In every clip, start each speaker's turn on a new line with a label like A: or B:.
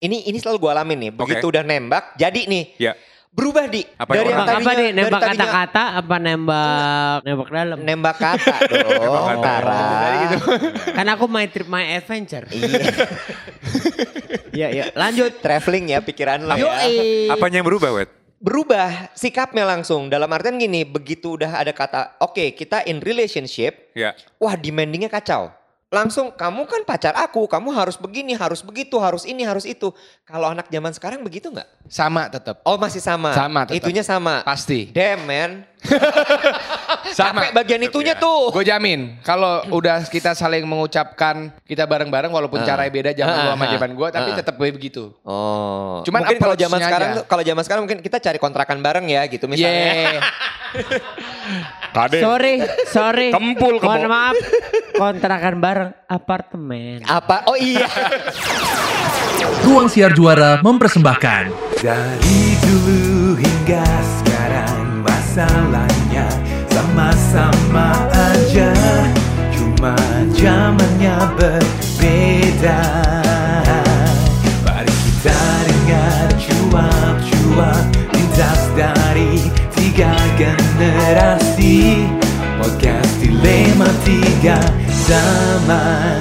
A: Ini ini selalu gue alamin nih. Begitu udah nembak, jadi nih.
B: Iya.
A: Berubah di
B: Apa
A: dari yang
B: yang orang-
A: tadinya
C: apa nih
A: dari
C: nembak
A: tadinya
C: kata-kata apa nembak nembak dalam?
A: nembak kata dong,
B: kata.
A: Tara.
C: Kan aku my trip my adventure.
A: Iya,
C: Iya iya. Lanjut.
A: traveling ya pikiran lo ya.
C: Yoi.
B: Apanya yang berubah, Wet?
A: Berubah sikapnya langsung. Dalam artian gini, begitu udah ada kata, oke kita in relationship,
B: Ya.
A: Wah demandingnya kacau. Langsung kamu kan pacar aku, kamu harus begini, harus begitu, harus ini, harus itu. Kalau anak zaman sekarang begitu nggak?
D: Sama tetap.
A: Oh masih sama.
D: Sama tetap.
A: Itunya sama.
D: Pasti.
A: Damn man. Capek
D: Sama.
A: bagian itunya tuh.
D: Gue jamin kalau udah kita saling mengucapkan kita bareng-bareng walaupun
A: Hmm. Ah.
D: caranya beda zaman
A: Ah,
D: lu sama
A: ah,
D: zaman gue tapi
A: ah.
D: tetap begitu.
A: Oh.
D: Cuman
A: mungkin kalau zaman
D: approach-nya
A: sekarang
D: aja.
A: tuh, kalau zaman sekarang mungkin kita cari kontrakan bareng ya gitu misalnya.
D: Yeah.
B: Kade.
C: Sorry, sorry.
B: Kempul, kebo.
C: Mohon maaf. Kontrakan bareng apartemen.
A: Apa? Oh iya.
E: Ruang Siar Juara mempersembahkan
F: Dari dulu hingga sekarang masalahnya sama-sama aja Cuma zamannya berbeda Mari kita dengar cuap-cuap lintas dari tiga generasi Podcast Dilema Tiga Zaman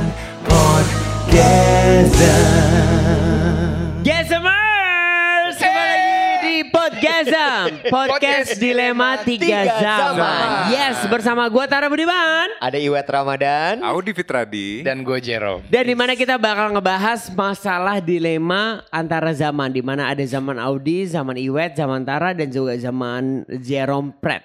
F: Podcaster
C: Gazamers, kembali lagi
A: Eh.
C: di Podcasm, podcast dilema
A: Tiga
C: tiga zaman.
A: Zaman.
C: Yes, bersama gua Tara Budiman.
A: Ada Iwet Ramadan.
B: Audi Fitradi.
D: Dan gue Jero.
C: Dan di mana kita bakal ngebahas masalah dilema antara zaman, di mana ada zaman Audi, zaman Iwet, zaman Tara, dan juga zaman Jerome Pratt.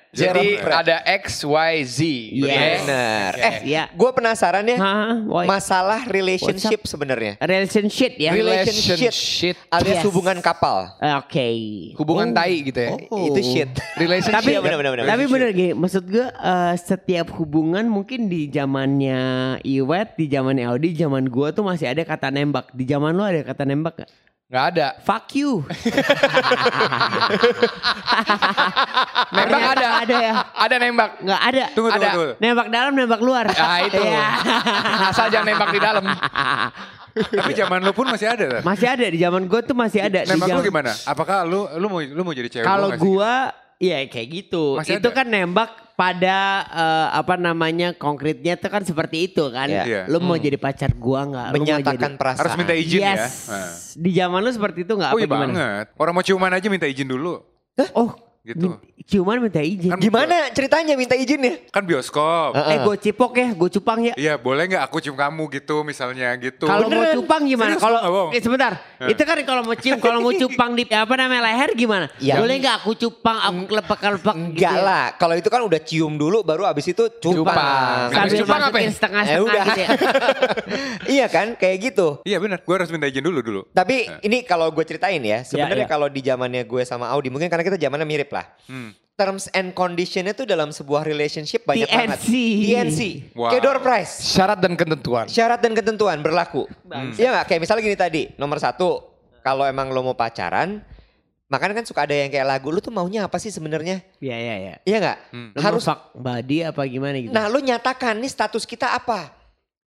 A: Jerome
D: Jadi
A: Pratt.
D: ada X, Y, Z.
C: Yes.
A: Bener. Eh,
C: Iya.
A: gue penasaran ya.
C: Hah, Oh, iya. why?
A: Masalah relationship sebenarnya.
C: Relationship ya.
D: Rela-
A: Relationship.
D: Relationship.
A: Alias
C: Yes.
A: hubungan kapal.
C: Oke.
D: Hubungan tai gitu ya.
C: Oh.
A: Itu shit.
D: Relationship.
C: tapi
A: Iya, benar-benar, benar.
C: tapi bener gini maksud gue eh, setiap hubungan mungkin di zamannya Iwet di zaman Audi zaman gue tuh masih ada kata nembak di zaman lo ada kata nembak gak?
D: Gak ada.
C: Fuck you.
D: Nembak
C: Ternyata
D: ada.
C: ada ya.
D: Ada nembak.
C: Nggak ada.
B: Tunggu, tunggu,
D: Ada.
B: tunggu.
C: Nembak dalam, nembak luar.
D: Ah itu.
C: Iya.
D: Asal jangan nembak di dalam.
B: Tapi zaman lu pun masih ada, Tar.
C: masih ada di zaman gue tuh masih ada. Di
B: Nembak lu
C: zaman-
B: gimana? Apakah lu lu mau lu mau jadi cewek?
C: Kalau
B: nggak sih?
C: gua ya kayak gitu.
B: Masih
C: itu
B: ada?
C: kan nembak pada eh, apa namanya konkretnya itu kan seperti itu kan.
B: Iya.
C: Lu mau jadi pacar gua nggak? Lu mau
A: Menyatakan perasaan.
B: harus minta
C: jadi-
B: izin
C: yes.
B: ya. Nah.
C: Di zaman lu seperti itu nggak?
B: Oh
C: apa
B: iya
C: gimana?
B: banget. Orang mau ciuman aja minta izin dulu.
C: Oh,
B: Gitu.
C: min- Ciuman minta izin.
B: Kan-
A: Gimana ceritanya minta izin ya?
B: Kan bioskop.
C: Eh, gue cipok ya, gue cupang ya.
B: Iya boleh nggak aku cium kamu gitu misalnya gitu.
C: Kalau mau
B: Beneran.
C: cupang gimana?
B: Serius,
C: Kalau
B: nggak bohong?
C: eh, sebentar, itu kan kalau mau cium, kalau mau cupang di apa namanya leher gimana?
A: Iya.
C: Boleh nggak aku cupang, aku gitu ya? lepak-lepak
A: Enggak lah. Kalau itu kan udah cium dulu baru abis itu cupang.
D: Cupang.
C: Sambil
D: Cupang apa ya?
C: masukin
A: Eh,
C: setengah-setengah
A: udah.
C: gitu ya.
A: iya kan kayak gitu.
B: Iya benar. Gue harus minta izin dulu dulu.
A: Tapi ini kalau gue ceritain ya, sebenarnya
C: iya.
A: kalau di zamannya gue sama Audi, mungkin karena kita zamannya mirip lah.
B: Hmm.
A: Terms and conditionnya tuh dalam sebuah relationship banyak banget.
C: TNC.
A: TNC.
B: Wow.
A: Kayak door prize.
D: Syarat dan ketentuan.
A: Syarat dan ketentuan berlaku. Iya nggak? Kayak misalnya gini tadi, nomor satu, kalau emang lo mau pacaran, makanya kan suka ada yang kayak lagu, lu tuh maunya apa sih sebenarnya?
C: Iya, iya, iya.
A: Iya nggak?
B: Hmm.
C: Lu
A: Harus
C: mau fuck body apa gimana gitu.
A: Nah, lu nyatakan nih status kita apa?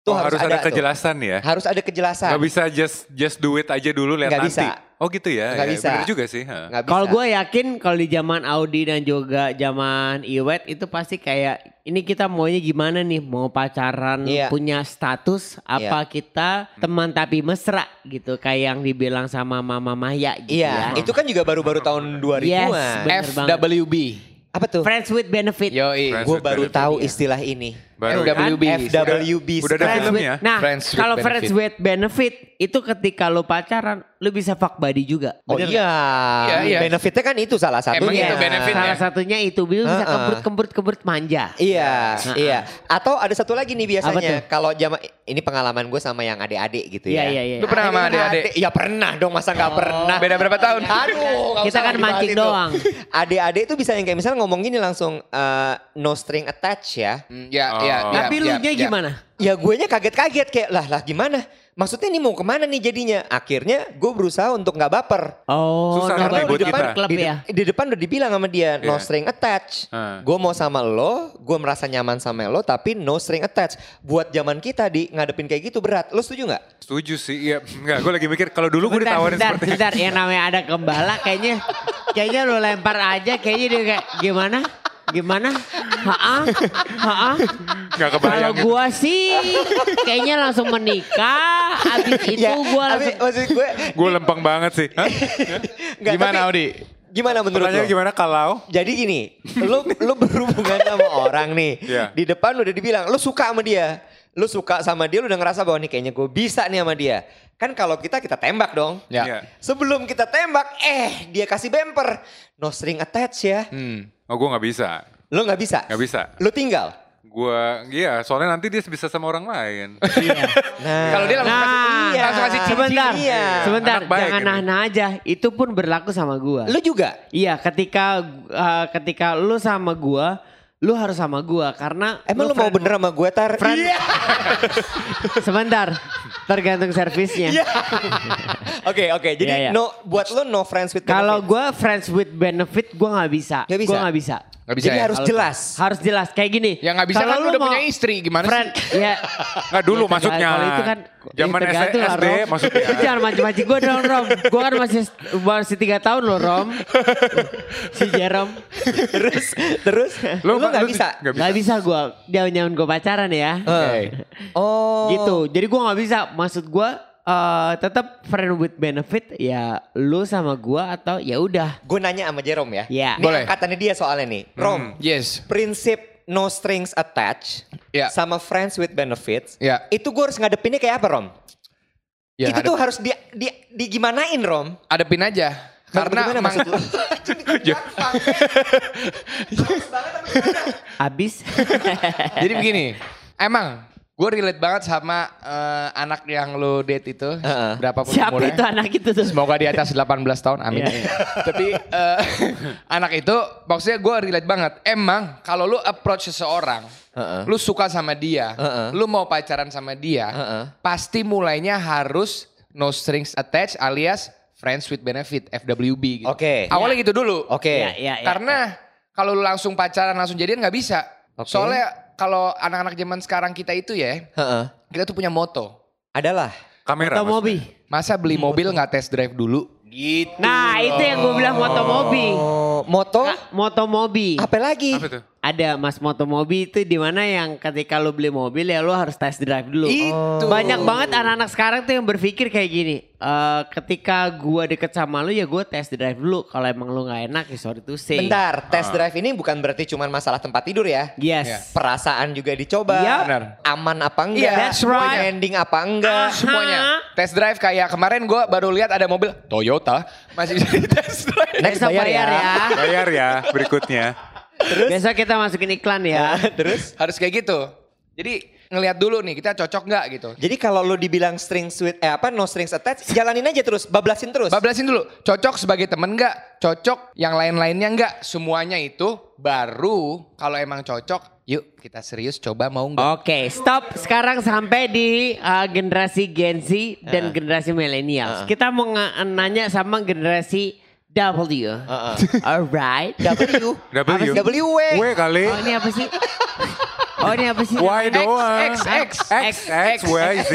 A: Tuh
B: Oh, harus, ada,
A: tuh.
B: kejelasan ya.
A: Harus ada kejelasan.
B: Gak bisa just just do it aja dulu lihat
A: Nggak
B: nanti.
A: bisa.
B: Oh gitu ya.
A: Nggak
B: ya,
A: bisa.
B: Bener juga sih. ha.
A: Nggak bisa.
C: kalau gue yakin kalau di zaman Audi dan juga zaman Iwet itu pasti kayak ini kita maunya gimana nih mau pacaran
A: Iya.
C: punya status apa kita teman tapi mesra gitu kayak yang dibilang sama Mama Maya gitu
A: Iya,
C: ya.
A: itu kan juga baru-baru tahun 2000-an.
C: Yes, bener banget.
D: FWB.
A: Apa tuh?
C: Friends with benefit.
D: Yoi.
B: Friends
A: Gue
B: with
A: baru
B: benefit.
A: tahu istilah ini.
B: Baru. ya.
C: Udah-
D: FWB.
A: FWB.
B: Udah ada
A: sekarang.
C: Friends with,
B: filmnya.
C: nah
D: Friends with
C: kalau
D: benefit.
C: friends with benefit itu ketika lu pacaran lu bisa fuck buddy juga.
A: Oh
C: Bener
A: iya.
D: Iya, iya.
A: Benefitnya kan itu salah satunya.
D: Emang itu
C: Iya,
D: benefitnya?
C: Salah satunya itu Lu bisa
A: Heeh.
C: kembrut kembrut kembrut manja.
A: Iya,
C: Nah,
A: iya. Atau ada satu lagi nih
C: Apa
A: biasanya kalau zaman ini pengalaman gue sama yang adik-adik gitu
C: Iya,
A: ya.
C: iya, iya. Oh.
D: Lu pernah sama
A: Ada
D: adik-adik?
A: Ya pernah dong, masa nggak pernah.
D: Beda berapa tahun?
A: Aduh, nggak
C: Kita
A: usah
C: kan
A: dibahas
C: mancing
A: itu.
C: doang.
A: Adik-adik itu bisa yang kayak misalnya ngomong gini langsung eh, no string attach ya.
D: Hmm, Ya, ya,
B: Oh.
D: ya,
C: nah. Tapi
D: ya,
C: lu nya
D: ya.
C: gimana?
A: Ya guenya kaget-kaget kayak lah lah gimana? maksudnya ini mau kemana nih jadinya? Akhirnya gue berusaha untuk nggak baper.
C: Oh,
B: Susah
C: nonton
B: nanti
C: di
B: buat
C: depan
B: kita.
C: klub
A: di,
C: ya.
A: di depan udah dibilang sama dia no
B: Iya.
A: string attached.
B: Ah.
A: Gue mau sama lo, gue merasa nyaman sama lo, tapi no string attached. Buat zaman kita di ngadepin kayak gitu berat. Lo setuju nggak?
B: Setuju sih. Iya, enggak. Gue lagi mikir kalau dulu gue
C: Bentar,
B: ditawarin
C: bentar,
B: seperti
C: bentar. Yang namanya ada gembala kayaknya kayaknya lu lempar aja kayaknya dia kayak gimana? Gimana? Haa? Haa?
B: Nggak kebayang
C: Kalau
B: gitu.
C: gua sih kayaknya langsung menikah. Abis itu gua
A: tapi
C: langsung
A: Ya, maksud gue
B: Gue lempeng banget sih. Hah?
A: nggak,
D: Gimana,
A: tapi
D: Audi?
A: Gimana menurut lo?
B: Pertanyaannya gimana kalau?
A: Jadi gini, lu lu berhubungan sama orang nih.
B: Iya.
A: Di depan lu udah dibilang lu suka sama dia. Lu suka sama dia lu udah ngerasa bahwa nih kayaknya gue bisa nih sama dia. Kan kalau kita kita tembak dong.
D: Ya.
B: Iya.
A: Sebelum kita tembak, eh dia kasih bumper. No string attach ya.
D: Hmm.
B: Oh gue nggak bisa.
A: Lu nggak bisa.
B: Nggak bisa.
A: Lu tinggal.
B: Gue, iya soalnya nanti dia bisa sama orang lain.
A: Nah.
D: Kalau dia langsung
C: Nah,
A: Iya.
D: Langsung kasih cincin.
C: sebentar,
A: Iya.
C: sebentar,
B: Anak baik
C: jangan
B: ini.
C: nah-nah aja. Itu pun berlaku sama gua.
A: Lu juga.
C: Iya, ketika uh, ketika lu sama gua, lu harus sama gua karena
A: Emang lu, mau
C: friend-
A: bener sama gue tar?
C: friend-
A: Iya.
C: Sebentar, tergantung servisnya.
A: Iya. Oke oke. Jadi
C: Iya, iya.
A: no buat lu no friends with
C: Kalau
A: benefit.
C: gua friends with benefit, gua nggak bisa.
A: Nggak bisa?
C: Gua nggak bisa.
D: Nggak bisa
A: Jadi
D: ya?
A: harus
C: Kalau-
A: jelas.
C: Harus jelas kayak gini.
D: Ya nggak bisa
C: Kalau
D: kan lu udah
C: mau
D: punya istri gimana
C: Friend,
D: sih?
C: ya.
B: Nggak dulu
C: Ya, tergantung.
B: maksudnya.
C: Kalau itu kan
B: Zaman
C: ya tergantung lah,
B: SD
C: Rom.
B: maksudnya.
C: Lu jangan mancing-mancing gua dong, Rom. Gua kan masih masih 3 tahun loh, Rom. si Jerome.
A: terus terus lu
B: Bang,
A: nggak bisa.
B: Nggak bisa.
C: Nggak bisa gua dia nyaman gua pacaran ya.
A: Eh. Oh.
C: gitu jadi gue nggak bisa maksud gue eh tetap friend with benefit ya lu sama gue atau ya udah
A: Gue nanya sama Jerome ya.
C: Iya.
A: Ini
D: Boleh. Hmm.
A: angkatannya dia soalnya nih. Rom,
D: Yes.
A: prinsip no strings attached
D: Iya.
A: sama friends with benefits.
D: Iya.
A: Itu gue harus ngadepinnya kayak apa Rom?
D: Ya,
A: itu
D: hadep-
A: tuh harus di, di, digimanain Rom.
D: hadepin aja. Karena
A: Bagaimana
D: emang-
A: maksud lu? Jadi gampang. Bagus banget sama gimana?
C: abis
D: Jadi begini, emang gue relate banget sama eh, anak yang lo date itu,
A: Heeh.
D: berapapun
C: siapa
D: umurnya.
C: itu anak itu tuh
D: Semoga di atas 18 tahun, amin.
C: Iya, iya.
D: Tapi eh, anak itu, maksudnya gue relate banget. Emang kalau lu approach seseorang,
A: Heeh.
D: lu suka sama dia,
A: Heeh.
D: lu mau pacaran sama dia,
A: Heeh.
D: pasti mulainya harus no strings attached alias friends with benefit (FWB). Gitu.
A: Oke.
D: Awalnya gitu dulu.
A: Oke. Iya,
C: ya, ya, ya.
D: Karena kalau lu langsung pacaran langsung jadian nggak bisa.
A: Oke.
D: Soalnya kalau anak-anak zaman sekarang kita itu ya,
A: Heeh.
D: kita tuh punya moto.
A: Adalah.
B: Kamera maksudnya.
C: Moto mobi
D: Masa beli mobil nggak tes drive dulu?
C: nah itu yang gue bilang moto mobi
A: Oh, moto
C: Nah, moto mobi
A: apa lagi?
B: Apa tuh?
C: ada mas moto mobi itu di mana yang ketika lu beli mobil ya lu harus test drive dulu
D: Itu.
C: banyak banget anak-anak sekarang tuh yang berpikir kayak gini eh ketika gua deket sama lu ya gue test drive dulu kalau emang lu nggak enak ya sorry to say
D: Ah.
A: Bentar, test drive ini bukan berarti cuman masalah tempat tidur ya.
C: yes
D: Iya.
A: Perasaan juga dicoba.
C: Iya.
D: Benar.
A: Aman apa enggak?
D: Iya, that's
C: right.
A: Ending apa enggak?
D: Semuanya. Tes drive kayak kemarin gue baru lihat ada mobil Toyota masih bisa di tes drive.
A: Next
C: Besok
A: bayar, ya.
B: Bayar ya berikutnya.
C: Besok kita masukin iklan ya.
A: Terus?
D: Harus kayak gitu. Jadi ngelihat dulu nih kita cocok nggak gitu.
A: Jadi kalau lu dibilang string sweet, eh apa no strings attached, jalanin aja terus, bablasin terus.
D: Bablasin dulu, cocok sebagai temen nggak? Cocok yang lain-lainnya nggak? Semuanya itu baru kalau emang cocok, yuk kita serius coba
B: Oh.
D: mau nggak?
C: Oke, stop sekarang sampai di uh, generasi Gen Z dan generasi milenial. Kita mau nge- nanya sama generasi W. Alright.
A: W. Apa
B: W.
A: sih? W.
B: W kali.
C: Oh, ini apa sih? Oh, ini apa sih?
B: Why doang?
D: X, X,
B: X, X, Y, Z.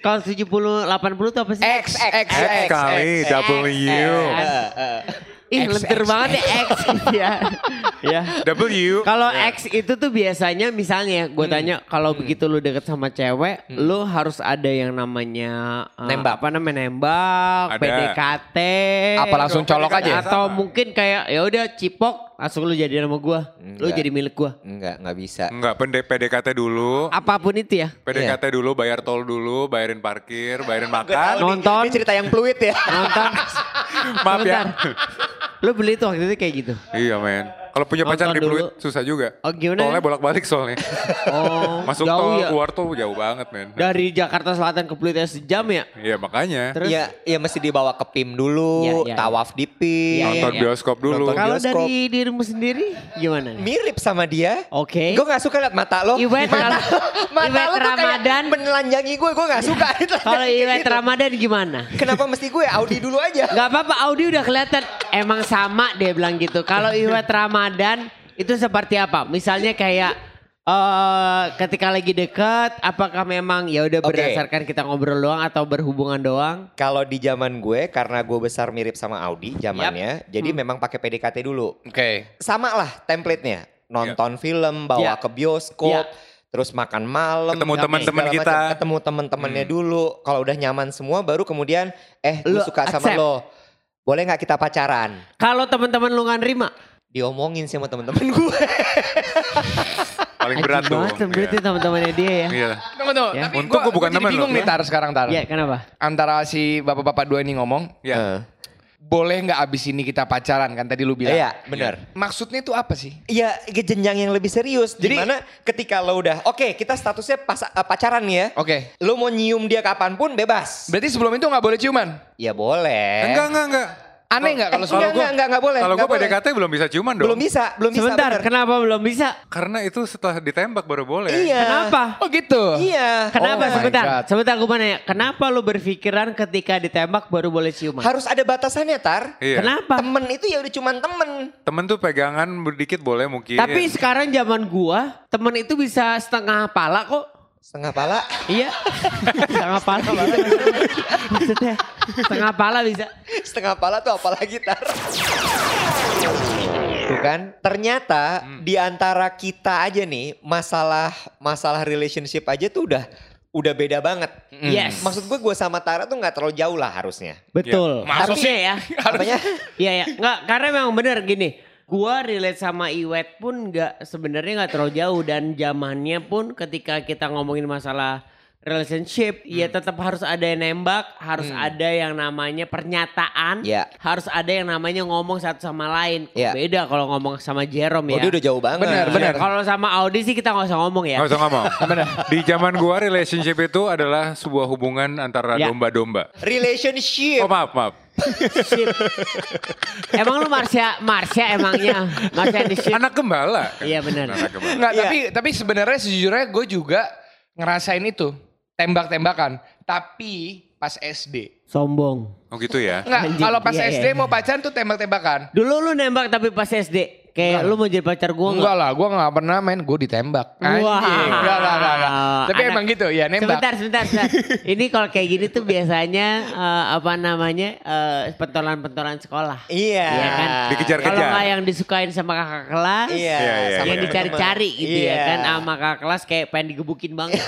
C: Kalau 70 80 tuh apa sih?
D: X, X,
B: X kali W.
C: Ih,
D: X,
C: lentur
D: X,
C: banget ya X. Ya. Ya.
B: W.
C: Kalau X itu tuh biasanya misalnya gue tanya kalau begitu lu deket sama cewek, lu harus ada yang namanya eh,
A: Nembak.
C: apa namanya
B: Ada.
C: nembak, PDKT,
D: Apa langsung colok aja?
C: atau
B: Sama.
C: mungkin kayak ya udah cipok langsung lu jadi nama gue, lu
A: Enggak.
C: jadi milik gue,
A: Enggak, enggak bisa.
B: Enggak, pendek PDKT dulu.
C: apapun itu ya.
B: PDKT dulu, bayar tol dulu, bayarin parkir, bayarin
A: Tahu
B: makan.
A: nih,
C: Nonton.
A: Ini cerita yang fluid ya.
C: Nonton,
B: Maaf ya.
C: Sebentar. lu beli itu waktu itu kayak gitu.
B: Iya men. Kalau punya pacar di
C: Nonton
B: Pluit
C: dulu.
B: susah juga.
C: Oh, gimana?
B: Tolnya bolak-balik soalnya.
C: Oh,
B: Masuk
C: jauh
B: tol,
C: ya?
B: keluar tol jauh banget men.
C: Dari Jakarta Selatan ke Pelitnya sejam ya?
B: Iya makanya.
C: Terus
A: Iya, iya mesti dibawa ke PIM dulu,
C: Iya, iya.
A: tawaf di PIM.
C: Iya,
B: Nonton
C: iya.
B: bioskop dulu.
A: Nonton
C: kalau
A: bioskop.
C: dari dirimu sendiri gimana? nih?
A: Mirip sama dia.
C: Oke.
A: Gue gak suka liat mata lo.
C: Iwet
A: mata,
C: Ram-
A: mata
C: Iwet
A: lo tuh
C: Ramadan.
A: kayak menelanjangi gue. Gue gak suka.
C: Kalau
A: Kayak
C: Iwet
A: gitu.
C: Ramadan gimana?
A: Kenapa mesti gue? Audi dulu aja.
C: Gak apa-apa, Audi udah kelihatan emang sama dia bilang gitu. Kalau Iwet Ramadan itu seperti apa? Misalnya kayak eh ketika lagi dekat, apakah memang ya udah
A: Oke.
C: berdasarkan kita ngobrol doang atau berhubungan doang?
A: Kalau di zaman gue, karena gue besar mirip sama Audi zamannya, jadi
C: Hmm.
A: memang pakai PDKT dulu.
D: Oke.
A: Sama lah template-nya. Nonton film, bawa
C: Iya.
A: ke bioskop,
C: Iya.
A: terus makan malam.
B: Ketemu
A: apa
B: teman-teman
A: segala
B: kita. Hmm.
A: macam. Ketemu teman-temannya dulu. Kalau udah nyaman semua, baru kemudian, eh gue
C: Lu
A: suka sama
C: accept.
A: lo. Boleh nggak kita pacaran?
C: Kalau teman-teman lu nggak nerima,
A: Diomongin sih sama temen-temen gue.
B: Paling
C: Anjing
B: berat tuh.
C: banget Berarti
B: Iya.
C: teman-temannya dia ya.
B: Iya.
D: Tunggu tunggu.
C: Ya.
D: Tapi
B: Untung gua bukan
D: jadi
B: temen
D: bingung
B: loh.
D: nih Tar sekarang Tar.
C: Iya, kenapa?
D: Antara si bapak-bapak dua ini ngomong,
B: Iya.
D: boleh nggak abis ini kita pacaran kan tadi lu bilang.
A: Iya, benar.
D: Maksudnya itu apa sih?
A: Iya, ke jenjang yang lebih serius.
D: Jadi-
A: Dimana ketika lo udah, oke kita statusnya pas, eh, pacaran nih
B: Oh.
A: ya.
D: Oke.
A: Lo mau nyium dia kapanpun bebas.
D: Berarti sebelum itu nggak boleh ciuman?
A: ya boleh.
B: Enggak, enggak, enggak.
D: Aneh nggak kalau
A: Eh,
D: soal
A: enggak,
D: gua?
A: enggak, enggak, enggak boleh.
B: Kalau gue
A: enggak boleh.
B: PDKT belum bisa ciuman dong.
A: Belum bisa, belum bisa.
C: Sebentar,
A: bener.
C: kenapa belum bisa?
B: Karena itu setelah ditembak baru boleh.
A: Iya.
C: Kenapa?
D: Oh gitu.
A: Iya.
C: Kenapa?
D: my
C: sebentar,
D: God.
C: sebentar gue mau nanya. Kenapa lu berpikiran ketika ditembak baru boleh ciuman?
A: Harus ada batasannya, Tar.
B: Iya.
C: Kenapa?
A: Temen itu ya udah cuman temen.
B: Temen tuh pegangan berdikit boleh mungkin.
C: Tapi sekarang zaman gua, temen itu bisa setengah pala kok.
A: Setengah pala.
C: Iya. setengah pala. Maksudnya setengah pala bisa.
A: Setengah pala tuh apalagi, Tar. Tuh kan, ternyata di antara kita aja nih, masalah masalah relationship aja tuh udah udah beda banget.
C: Yes.
A: Maksud gue, gue sama Tara tuh nggak terlalu jauh lah harusnya.
C: Betul.
D: Ya, maksud
C: Harusnya
D: sih.
C: ya.
A: Apanya?
C: Iya ya. Enggak, karena memang benar gini. Gua relate sama Iwet pun nggak sebenarnya nggak terlalu jauh dan zamannya pun ketika kita ngomongin masalah relationship ya tetap harus ada yang nembak, harus ada yang namanya pernyataan,
A: Iya.
C: harus ada yang namanya ngomong satu sama lain.
A: Iya.
C: Beda kalau ngomong sama
A: Oh,
C: Jerome ya.
A: dia udah jauh banget.
D: Benar,
C: Iya,
D: benar.
C: Kalau sama Audi sih kita nggak usah ngomong ya.
B: Nggak usah ngomong. Di zaman gua relationship itu adalah sebuah hubungan antara
C: Ya.
B: domba-domba.
A: Relationship.
B: Oh maaf, maaf.
C: Sip. emang lu Marsha, Marsha emangnya, Marsha di sip.
B: Anak gembala.
C: Iya, benar.
B: Anak gembala.
D: Nggak,
A: Iya.
D: tapi tapi sebenarnya sejujurnya gue juga ngerasain itu tembak-tembakan. Tapi pas SD.
C: Sombong.
B: Oh gitu ya.
D: Enggak,
C: Anjing,
D: kalau pas
C: iya,
D: SD
C: iya.
D: mau pacaran tuh tembak-tembakan.
C: Dulu lu nembak tapi pas SD. Kayak lu mau jadi pacar gua
D: Enggak lah, gue gak pernah main, gue ditembak. Anjing, enggak lah, enggak lah. Tapi
C: Anak-
D: emang gitu, ya nembak.
C: Sebentar, sebentar, sebentar. Ini kalau kayak gini tuh biasanya eh, apa namanya eh, pentolan-pentolan sekolah.
A: Iya.
C: Iya kan?
B: Dikejar-kejar.
C: Kalau nggak yang disukain sama kakak kelas,
A: Iya. sama
B: Iya, iya,
C: yang
B: iya.
A: temen-temen.
C: dicari-cari gitu
A: Iya.
C: ya kan sama kakak kelas kayak pengen digebukin banget.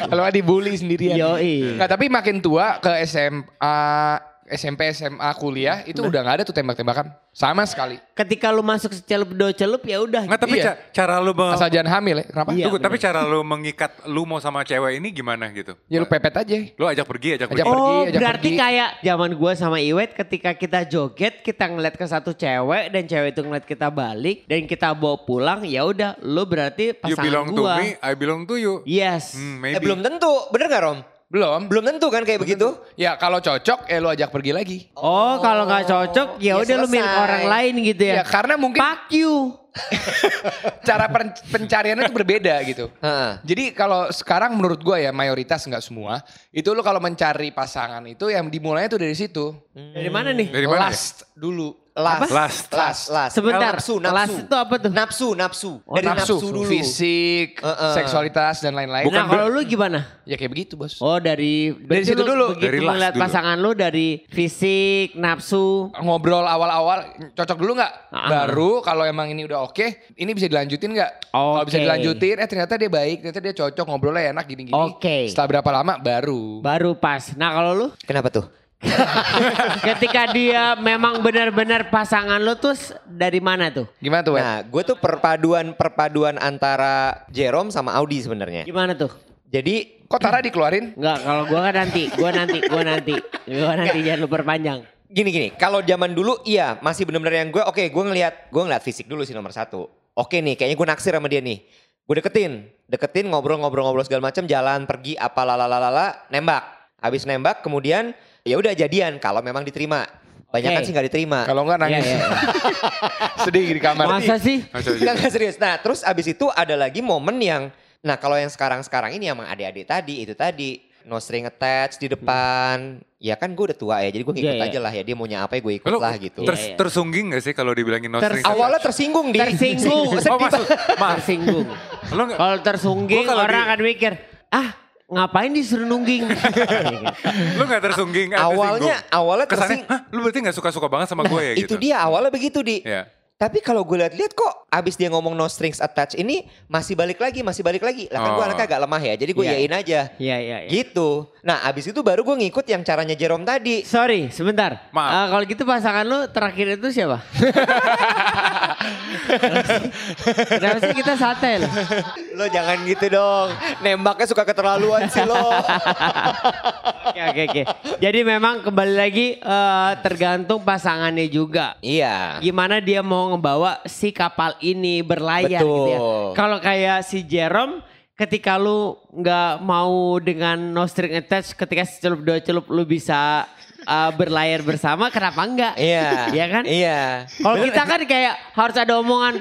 D: Kalau nggak dibully sendirian.
C: Yoi.
D: Enggak, tapi makin tua ke SMA, SMP, SMA, kuliah itu udah gak ada tuh tembak-tembakan. Sama sekali.
C: Ketika lu masuk celup do celup ya udah.
B: Nggak tapi
D: Iya.
B: ca- cara lu me-
D: Asal jangan hamil ya, kenapa?
C: Oh. Iya.
B: Tunggu, tapi cara lu mengikat lu mau sama cewek ini gimana gitu?
D: Ya lu pepet aja.
B: Lu ajak pergi, ajak,
D: Ajak
B: pergi.
C: Oh,
D: pergi, ajak
C: berarti
D: pergi.
C: kayak zaman gua sama Iwet ketika kita joget, kita ngeliat ke satu cewek dan cewek itu ngeliat kita balik dan kita bawa pulang, ya udah, lu berarti
B: You
C: pasangan
B: belong to
C: gua.
B: me, I belong to you.
C: Yes.
B: Hmm,
A: Eh,
B: maybe.
A: belum tentu, bener gak Rom?
D: Belum.
A: Belum tentu kan kayak begitu?
D: Ya kalau cocok, eh lu ajak pergi lagi.
C: Oh, kalau nggak cocok,
A: ya
C: ya udah lu milik
A: selesai.
C: orang lain gitu ya.
A: Iya.
D: Ya karena mungkin
C: Fuck you.
D: cara pen- pencariannya itu berbeda gitu.
A: Heeh.
D: Jadi kalau sekarang menurut gua ya mayoritas nggak semua, itu lu kalau mencari pasangan itu yang dimulainya tuh dari situ.
C: Hmm. Dari mana nih?
B: Dari mana? ya?
D: Last dulu.
A: Last,
B: Last.
A: last, last.
C: Sebentar,
A: Nafsu,
C: last
A: nafsu.
C: itu apa tuh?
A: Nafsu, nafsu.
C: Oh,
A: Dari nafsu,
D: nafsu,
A: dulu.
D: fisik,
A: Heeh.
D: seksualitas dan lain-lain.
B: Bukan
C: nah, kalau lu gimana?
D: Ya kayak begitu, Bos.
C: Oh, dari berarti
D: situ
C: lu
D: dulu.
C: Begitu
B: Dari last
C: ngeliat
B: dulu.
C: pasangan lu dari fisik, nafsu.
D: Ngobrol awal-awal cocok dulu nggak?
C: Ah.
D: Baru kalau emang ini udah oke, ini bisa dilanjutin nggak? Kalau bisa
C: Oke.
D: dilanjutin, eh ternyata dia baik, ternyata dia cocok, ngobrolnya enak gini-gini.
C: Oke.
D: Setelah berapa lama baru.
C: Baru pas. Nah, kalau lu?
A: Kenapa tuh?
C: Ketika dia memang benar-benar pasangan lu tuh s- dari mana tuh?
D: Gimana tuh, Wen?
A: Nah, gue tuh perpaduan-perpaduan antara Jerome sama Audi sebenarnya.
C: Gimana tuh?
A: Jadi
D: Kok Tara dikeluarin?
C: Enggak, kalau gua kan nanti, gua nanti, gua nanti. Gua nanti jangan lu perpanjang.
A: gini gini kalau zaman dulu iya masih bener-bener yang gue oke gue ngelihat gue ngeliat fisik dulu sih nomor satu oke nih kayaknya gue naksir sama dia nih gue deketin deketin ngobrol-ngobrol-ngobrol segala macam jalan pergi apa lalalalala nembak habis nembak kemudian ya udah jadian kalau memang diterima banyak kan
C: Oke.
A: sih nggak diterima
B: Nah.
D: Kalau enggak nangis.
C: Iya, iya.
D: Sedih di kamar.
C: Masa sih?
B: Masa
A: Enggak,
B: gitu?
A: enggak serius. Nah, terus abis itu ada lagi momen yang nah kalau yang sekarang-sekarang ini emang adik-adik tadi itu tadi no string attached di depan. Ya kan gue udah tua ya, jadi gue ngikut
C: Hmm. Iya, iya.
A: aja lah ya dia maunya apa ya gue ikut
B: Lu
A: lah gitu.
B: ters-
C: Iya, iya.
B: tersungging gak sih kalau dibilangin no
C: Ter-
B: string?
A: Awalnya tersinggung di
C: Tersinggung.
B: Oh maksud, maaf.
C: Tersinggung.
B: Lo nggak-
C: Kalau tersungging
B: Gua kalau
C: orang
B: di-
C: akan mikir, ah ngapain disuruh nungging?
B: Lu gak tersungging eh,
A: Awalnya-
B: tersinggung.
A: awalnya
B: Kesannya
A: tersing-
B: Hah, Lu berarti gak suka-suka banget sama gue ya
A: itu
B: gitu
A: dia awalnya begitu di.
B: Iya.
A: Tapi kalau gue lihat-lihat kok abis dia ngomong no strings attached ini masih balik lagi, masih balik lagi. Lah kan gue
B: Oh.
A: anaknya agak lemah ya, jadi gue
C: Iya.
A: yain aja.
C: Iya, iya, iya.
A: Gitu. Nah abis itu baru gue ngikut yang caranya Jerome tadi.
C: Sorry, sebentar.
B: Maaf.
C: Eh, kalau gitu pasangan lu terakhir itu siapa? Kenapa sih kita santai loh?
A: Lo jangan gitu dong. Nembaknya suka keterlaluan sih lo.
C: Oke, oke, oke. Jadi memang kembali lagi eh, tergantung pasangannya juga.
A: Iya.
C: Gimana dia mau ngebawa si kapal ini berlayar gitu ya.
A: Betul.
C: Kalau kayak si Jerome ketika lu nggak mau dengan no string attached ketika secelup dua celup lu bisa eh, berlayar bersama kenapa enggak?
A: Iya.
C: Iya kan?
A: Iya.
C: Kalau kita kan kayak harus ada omongan,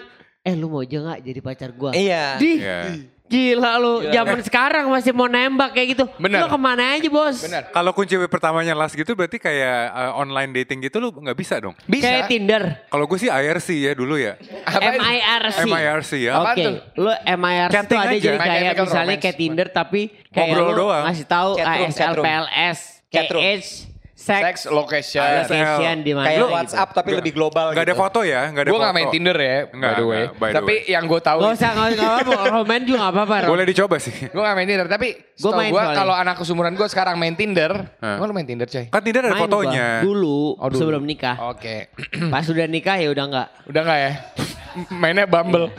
C: eh lu mau aja nggak jadi pacar gua?
A: Iya.
C: Di,
B: Iya.
C: gila lu, zaman sekarang masih mau nembak kayak gitu. Lu
D: Bener.
C: kemana aja bos?
D: Bener.
B: Kalau kunci pertamanya last gitu berarti kayak eh, online dating gitu lu gak bisa dong?
D: Bisa.
C: Kayak Tinder,
B: Kalau gue sih IRC ya dulu ya.
D: Apaan?
C: MIRC.
B: MIRC ya.
C: Oke,
D: Apaan tuh?
C: lu MIRC tuh
B: Chatting
C: ada
B: aja.
C: jadi
D: My
C: kayak
D: Chemical
C: misalnya
D: Romance.
C: kayak Tinder tapi kayak
B: Ngobrol
C: lu
B: doang.
C: ngasih tahu
A: Chatroom,
C: ASL,
A: chatroom.
C: PLS,
A: Chatroom.
C: KH,
D: Sex ya.
C: sex,
D: location.
C: location di mana?
A: Kayak
C: gitu.
A: WhatsApp tapi lebih global.
B: Gak ada
A: gitu.
B: foto ya, gak ada
D: Gue
B: foto.
D: gak main Tinder ya,
B: Nggak,
D: by the way.
B: nggak, by the
D: Tapi
B: way.
D: yang gue tahu
C: Gak usah, gak usah, gak usah, romen juga gak apa-apa. Rom.
B: Boleh dicoba sih.
D: Gue gak main Tinder, tapi gue
C: main
D: gue
C: soalnya.
D: kalau anak kesumuran gue sekarang main Tinder.
B: Hah.
D: Emang lu main Tinder coy?
B: Kan Tinder ada
C: Main gua
B: fotonya.
C: Dulu,
D: Oh, dulu.
C: sebelum nikah.
D: Oke.
C: Pas udah nikah ya udah nggak.
D: Udah gak ya? Mainnya Bumble.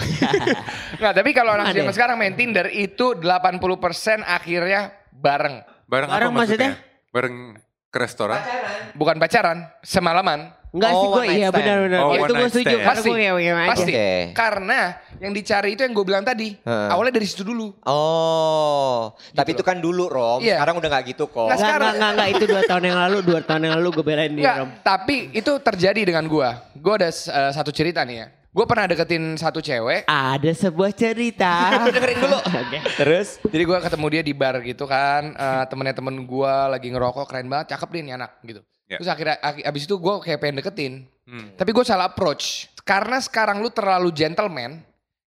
D: Nah tapi kalau
C: Ada
D: anak
C: ya?
D: zaman sekarang main Tinder itu 80% akhirnya bareng.
B: Bareng,
C: Bareng
B: apa maksudnya?
C: maksudnya?
B: Bareng ke restoran.
D: Bukan pacaran, semalaman.
C: Enggak sih
A: Oh,
C: gue
A: one night
C: iya
A: stand.
C: benar-benar.
B: Oh,
C: itu
B: one
C: gue
B: night
C: setuju
B: stand.
C: karena
D: Pasti,
C: gue ngewe aja.
D: pasti.
A: Oke.
D: Karena yang dicari itu yang gue bilang tadi.
A: Heeh.
D: Awalnya dari situ dulu.
A: Oh, tapi itu
B: Gitu
A: kan dulu Rom.
D: Iya.
A: Sekarang udah gak gitu kok.
D: Nggak
C: Enggak,
D: sekarang.
C: enggak, enggak, enggak, itu dua tahun yang lalu, dua tahun yang lalu gue belain dia, Rom.
D: Enggak, tapi itu terjadi dengan gue. Gue ada eh, satu cerita nih ya. Gue pernah deketin satu cewek.
C: Ada sebuah cerita.
A: Dengerin dulu.
C: Oke.
A: Terus?
D: Jadi gue ketemu dia di bar gitu kan, eh, temennya temen gue lagi ngerokok keren banget, cakep deh nih anak gitu.
A: Iya.
B: Ya.
D: Terus akhirnya ak- abis itu gue kayak pengen deketin,
B: Hmm.
D: tapi gue salah approach. Karena sekarang lu terlalu gentleman,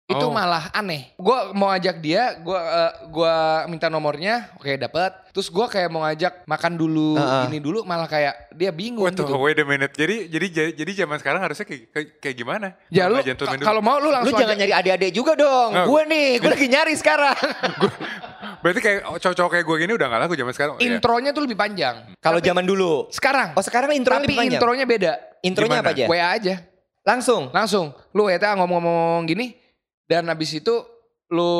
D: itu
B: Oh.
D: malah aneh. Gue mau ajak dia, gue eh, gua minta nomornya, oke dapet. Terus gue kayak mau ngajak makan dulu,
A: Heeh.
D: ini dulu malah kayak dia bingung
B: Wait,
D: gitu.
B: wait a minute. Jadi jadi jadi zaman sekarang harusnya kayak kayak, kayak gimana?
D: Ya lu
B: Sama gentleman
D: ka-
B: dulu.
D: kalau mau lu
A: Lu
D: langsung
A: jangan
D: ajak-
A: nyari adik-adik juga dong.
B: Nggak.
A: Gue nih, gue lagi nyari sekarang.
B: berarti kayak cowok-cowok kayak gue gini udah gak laku zaman sekarang. Ya.
D: intronya tuh lebih panjang.
A: Kalau zaman dulu.
D: Sekarang.
A: iya. Oh sekarang intronya
D: tapi
A: lebih panjang?
D: intronya beda.
A: Intronya
B: Gimana?
A: apa aja?
D: WA aja.
A: Langsung?
D: langsung lu eta ngomong-ngomong gini dan habis itu lu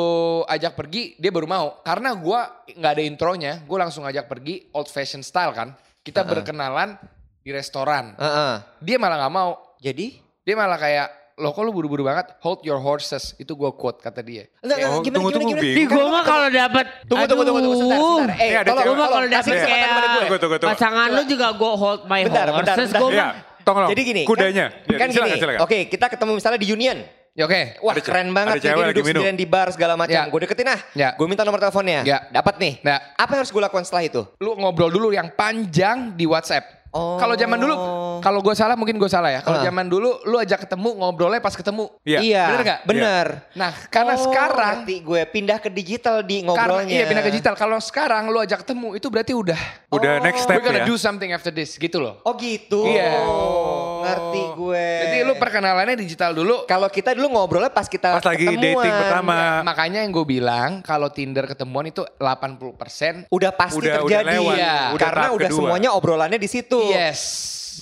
D: ajak pergi dia baru mau karena gua nggak ada intronya gue langsung ajak pergi old fashion style kan kita berkenalan di restoran
A: Heeh.
D: dia malah nggak mau
A: Jadi?
D: dia malah kayak lo kok lu buru-buru banget hold your horses itu gua quote kata dia
A: Enggak, enggak,
B: Oh,
A: gimana,
B: tunggu,
A: gimana,
B: tunggu,
A: gimana?
C: Di
B: bingung.
C: gue mah kalau dapat
A: Tunggu, tunggu, tunggu, tunggu, sebentar, sebentar. Eh,
B: Ini ada
A: tolong,
B: cewek.
A: tolong,
C: kalau
A: kasih
C: dapet
B: kesempatan
A: kesempatan
C: kayak
A: kepada gue.
B: Tunggu, tunggu, tunggu.
C: pasangan lu juga gue hold my
A: Bentar, bentar,
C: horses.
A: bentar.
C: Gue
B: Iya,
C: mah
B: tolong.
A: Jadi gini,
B: kudanya.
A: kan,
B: Ya,
A: kan
B: silakan,
A: gini.
B: silakan.
A: Oke, kita ketemu misalnya di Union.
D: ya oke
A: Wah,
B: Ada ce-
A: keren banget
B: ada
A: nih
B: cewek
A: dia
B: lagi
A: duduk
B: minum.
A: sendirian di bar segala macam.
D: Ya.
A: Gue deketin ah.
D: Ya.
A: Gue minta nomor teleponnya.
D: Ya.
A: Dapat nih.
D: Ya.
A: Apa yang harus gue lakukan setelah itu?
D: lu ngobrol dulu yang panjang di WhatsApp
A: Oh.
D: Kalau zaman dulu, kalau gue salah mungkin gue salah ya.
A: Ah.
D: Kalau zaman dulu, lu ajak ketemu ngobrolnya pas ketemu.
B: Iya.
A: Iya.
D: Bener nggak?
A: Bener.
D: Nah, karena
A: Oh,
D: sekarang
A: ngerti gue pindah ke digital di
D: Karena
A: ngobrolnya.
D: iya pindah ke digital. Kalau sekarang lu ajak ketemu itu berarti udah Oh,
B: Udah next step
D: we're gonna
B: ya.
D: do something after this gitu loh.
A: Oh gitu.
D: Iya.
A: Oh, Ngerti gue.
D: Jadi lu perkenalannya digital dulu. Eh,
A: kalau kita dulu ngobrolnya pas kita
B: Pas lagi
A: ketemuan.
B: dating pertama.
D: Makanya yang gue bilang kalau Tinder ketemuan itu 80%
A: Udah pasti
B: Udah- udah
A: terjadi.
B: lewat.
A: Iya.
B: Udah
A: Karena
B: tahap
A: udah
B: kedua.
D: Iya.
A: semuanya obrolannya di situ.
D: yes.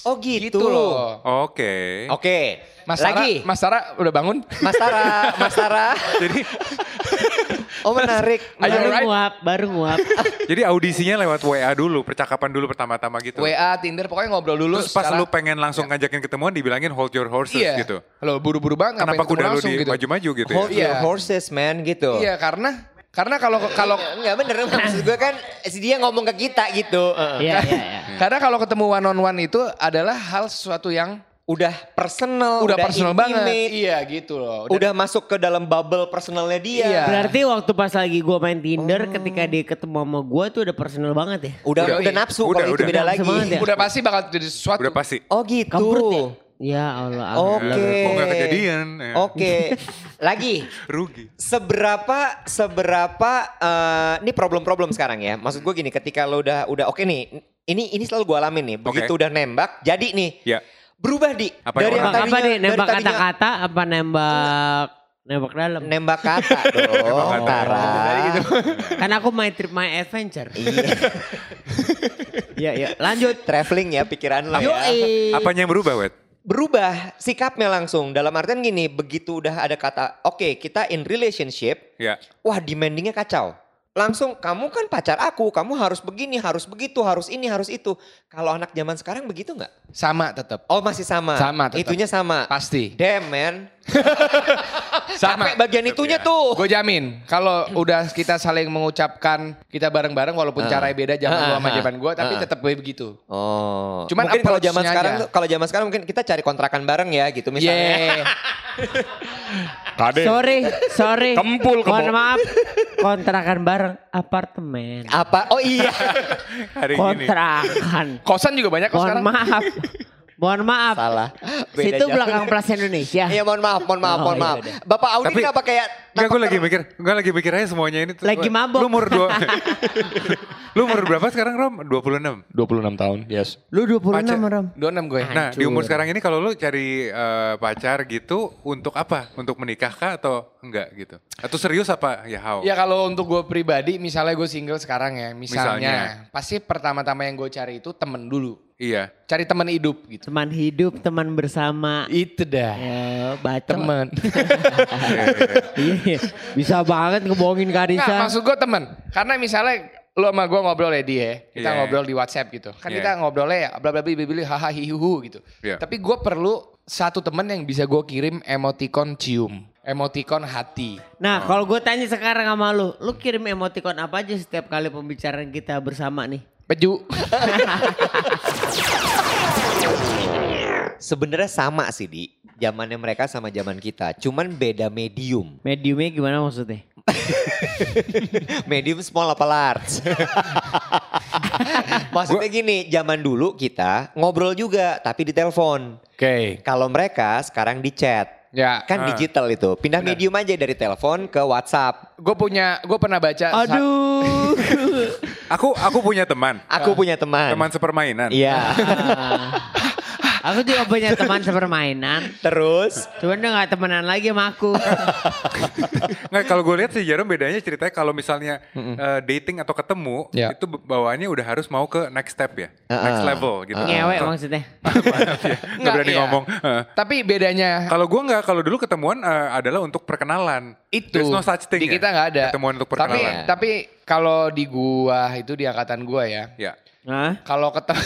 A: Oh gitu.
D: Gitu loh.
B: Oke.
A: Oke.
D: Mas Tara,
A: Lagi.
D: Mas Tara udah bangun?
B: Gitu.
A: Mas Tara, Mas Tara.
B: Jadi
A: Oh menarik.
D: Are you
C: Baru
D: alright?
C: nguap, baru nguap.
B: jadi audisinya lewat WA dulu, percakapan dulu pertama-tama gitu.
D: WA, Tinder, pokoknya ngobrol dulu.
B: Terus pas
D: secara-
B: lu pengen langsung ngajakin ketemuan dibilangin hold your horses
D: iya.
B: gitu.
D: Lo buru-buru banget
B: Kenapa
D: ngapain ketemu
B: kuda lu
D: langsung
B: di
D: gitu.
B: maju-maju gitu ya?
A: Hold your
D: Iya.
A: horses man gitu.
D: Iya, karena karena kalau kalau
A: Enggak bener maksud gue kan si dia ngomong ke kita gitu. Heeh.
C: Iya, iya, iya.
D: karena kalau ketemu one on one itu adalah hal sesuatu yang
A: Udah personal,
D: udah, personal banget.
A: intimate,
D: Iya, gitu loh.
A: Udah masuk ke dalam bubble personalnya dia.
D: Iya.
C: Berarti waktu pas lagi gua main Tinder
A: Hmm.
C: ketika dia ketemu sama gua tuh udah personal banget ya.
A: Udah udah,
D: Udah, iya.
A: nafsu
B: Udah,
A: kalau itu
B: udah.
A: beda
C: Nafsu
A: lagi.
C: banget ya?
D: udah pasti bakal jadi sesuatu.
B: Udah pasti.
A: Oh gitu.
C: Kampret ya? Ya Allah.
A: Oke.
B: Kok nggak kejadian? Ya.
A: Oke. lagi.
B: Rugi.
A: Seberapa seberapa eh, ini problem-problem sekarang ya. Maksud gue gini, ketika lo udah udah oke nih, ini ini selalu gue alamin nih. Begitu udah nembak, jadi nih
B: Ya.
A: berubah di
B: Apa
A: dari yang
B: yang
C: Nembak apa
A: tadinya
C: nih? Nembak
A: dari tadinya-
C: kata-kata apa nembak nembak dalam?
A: nembak kata dong,
B: kata.
A: Tara.
B: gitu.
C: Kan aku my trip my adventure.
A: Iya.
C: Iya, iya. Lanjut.
A: Traveling ya pikiran lo ya.
C: Yoi.
B: Apanya yang berubah, Wet?
A: Berubah sikapnya langsung. Dalam artian gini, begitu udah ada kata, oke kita in relationship,
B: Ya.
A: wah demandingnya kacau. Langsung kamu kan pacar aku, kamu harus begini, harus begitu, harus ini, harus itu. Kalau anak zaman sekarang begitu nggak?
D: Sama tetap.
A: Oh masih sama.
D: Sama tetap.
A: Itunya sama.
D: Pasti.
A: Damn man.
D: Sama.
A: Capek bagian itunya
B: ya.
A: tuh.
D: Gue jamin kalau udah kita saling mengucapkan kita bareng-bareng walaupun
A: Ah.
D: caranya beda zaman
A: Ah,
D: lu sama
A: ah,
D: zaman gue tapi
A: ah.
D: tetap begitu.
A: Oh.
D: Cuman
A: mungkin kalau zaman
D: approach-nya
A: sekarang
D: aja.
A: tuh- kalau zaman sekarang mungkin kita cari kontrakan bareng ya gitu misalnya.
D: Yeah.
C: Sorry, sorry.
D: Kempul, kebo.
C: Mohon maaf. Kontrakan bareng apartemen.
A: Apa? Oh iya.
B: Hari ini.
C: Kontrakan.
D: Kosan juga banyak kok
C: Mohon
D: sekarang.
C: maaf. Mohon maaf.
A: Salah. Beda
C: Situ
A: jauh.
C: belakang Plaza Indonesia.
A: Iya mohon maaf, mohon maaf,
C: Oh,
A: mohon
C: iya
A: maaf.
C: udah.
A: Bapak Audi
B: Tapi-
A: kenapa kayak
B: Enggak, gue
A: nampak
B: lagi
A: ter-
B: mikir. Gue lagi mikir aja semuanya ini. tuh.
C: Lagi mabok.
B: Lu umur dua. lu umur berapa sekarang, Rom? 26.
D: 26 tahun, yes.
C: Lu 26
B: Pacar.
C: Ram.
D: 26 gue.
B: Nah, di umur sekarang ini kalau lu cari eh, pacar gitu untuk apa? Untuk menikah kah atau enggak gitu? Atau serius apa? Ya how?
D: Ya kalau untuk gue pribadi, misalnya gue single sekarang ya, misalnya,
B: Misalnya.
D: pasti pertama-tama yang gue cari itu temen dulu,
B: Iya.
D: cari temen hidup gitu.
C: Teman hidup, teman bersama.
D: Itu dah,
C: Ya, bacot.
D: temen.
C: Iya, iya. Bisa banget ngebohongin
D: Nggak,
C: Karisa.
D: maksud gue temen. Karena misalnya lu sama gue ngobrol ya dia, kita
B: Iya.
D: ngobrol di WhatsApp gitu. Kan
B: Iya.
D: kita ngobrolnya ya, bla bla bla bla bla, haha hi, hu, hu, gitu.
B: Iya.
D: Tapi gue perlu satu temen yang bisa gue kirim emoticon cium, emoticon hati.
C: Nah, kalau gue tanya sekarang sama lu, lu kirim emoticon apa aja setiap kali pembicaraan kita bersama nih?
D: Peju.
A: Sebenarnya sama sih di zamannya mereka sama zaman kita, cuman beda medium.
C: Mediumnya gimana maksudnya?
A: Medium small apa large? Maksudnya gini, zaman dulu kita ngobrol juga tapi di telepon.
D: Oke.
A: Kalau mereka sekarang di chat.
D: Ya.
A: Kan
B: Ah.
A: digital itu. Pindah medium aja dari telepon ke WhatsApp.
D: Gue punya, gue pernah baca. sa-
C: Aduh.
B: Aku aku punya teman.
A: Aku punya teman.
B: Teman sepermainan.
A: Iya.
C: Ah. aku juga punya teman sepermainan.
A: Terus
C: Cuman udah gak temenan lagi sama aku.
B: Nggak, kalau gue lihat sih Jarum bedanya ceritanya kalau misalnya eh, dating atau ketemu
D: Ya.
B: itu be- bawaannya udah harus mau ke next step ya,
A: Heeh.
B: next level gitu.
C: Ngewe maksudnya.
B: Nggak berani
D: iya.
B: ngomong. Heeh.
D: Tapi bedanya
B: Kalau gue nggak, kalau dulu ketemuan eh, adalah untuk perkenalan.
D: itu
B: There's no such thing. ya?
D: di kita nggak ada.
B: Ketemuan untuk
D: tapi
B: perkenalan.
D: tapi kalau di gua itu di angkatan gua ya.
B: Ya.
C: Hah?
D: Kalau ketemu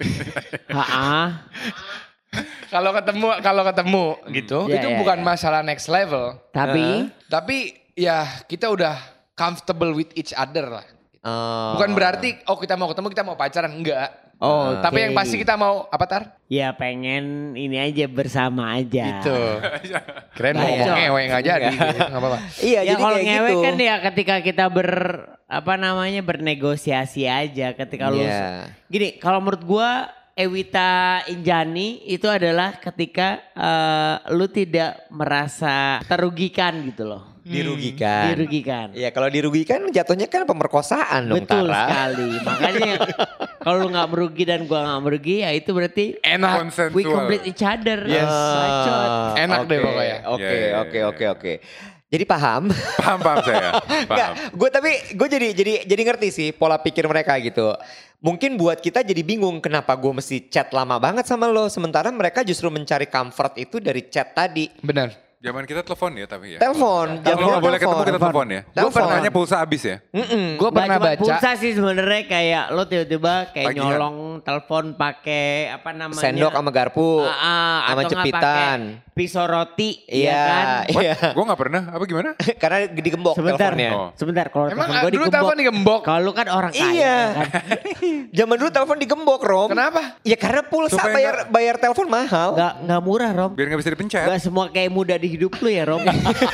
C: Ha-ah.
D: kalau ketemu kalau ketemu gitu
C: Iya,
D: itu
C: iya,
D: bukan
C: iya.
D: masalah next level.
C: Tapi
D: Tapi ya kita udah comfortable with each other lah.
A: Oh.
D: Bukan berarti oh kita mau ketemu kita mau pacaran enggak. Nah,
C: Oh, oke.
D: Tapi yang pasti kita mau apa tar?
C: ya pengen ini aja bersama aja.
D: Gitu. Keren
A: Nah,
D: mau
C: Baik.
D: ngomong ngewe nggak jadi. Enggak apa-apa.
A: Iya,
C: Ya
A: jadi
C: kalau
A: kayak
C: ngewe
A: gitu.
C: kan ya ketika kita ber apa namanya bernegosiasi aja ketika lu
A: Iya.
C: gini kalau menurut gua Ewita Injani itu adalah ketika eh, lu tidak merasa terugikan gitu loh.
A: dirugikan.
C: Dirugikan.
A: Iya, kalau dirugikan jatuhnya kan pemerkosaan dong,
C: Betul
A: Tara.
C: sekali. Makanya kalau lu nggak merugi dan gua nggak merugi ya itu berarti
D: Enak.
C: we
B: Konsensual.
C: complete each other. Eh,
D: Yes.
C: Bacot.
A: Ah,
D: Enak deh
A: oke,
D: pokoknya.
A: Oke,
B: Iya, iya,
A: oke,
B: iya.
A: oke, oke. Jadi paham.
B: Paham paham saya.
A: Enggak,
B: Paham.
A: gue tapi gue jadi jadi jadi ngerti sih pola pikir mereka gitu. mungkin buat kita jadi bingung kenapa gue mesti chat lama banget sama lo sementara mereka justru mencari comfort itu dari chat tadi
D: Benar.
B: Zaman kita telepon ya tapi ya.
A: telepon
B: Kalau
A: jangan
B: nggak boleh ketemu kita telepon ya. Gue
A: Telepon.
B: pernahnya pulsa habis ya.
A: Mm-mm.
D: Gue
C: Nggak
D: pernah
C: cuma
D: baca.
C: pulsa sih sebenarnya kayak lo tiba-tiba kayak
B: Tagihan.
C: nyolong telepon pakai apa namanya?
A: ya. sendok sama garpu
C: Ah, ah,
A: sama
C: atau nggak
A: jepitan
C: pakai Pisau roti, ya
A: iya
C: kan?
A: iya
B: Gue nggak pernah. Apa gimana?
A: karena digembok
C: Sebentar,
A: teleponnya
B: Oh.
C: sebentar. Kalau
D: Emang
C: telepon gua
D: dulu
C: digembok.
D: telepon digembok?
C: Kalau lu kan orang kaya.
A: Iya.
C: kan?
A: Zaman dulu telepon digembok, Rom.
D: Kenapa?
A: Ya karena pulsa
B: Supaya
A: bayar
B: nggak-
A: bayar telepon mahal.
C: Nggak nggak murah, Rom.
B: Biar nggak bisa dipencet.
C: Gak semua kayak muda di hidup lu ya, Rom.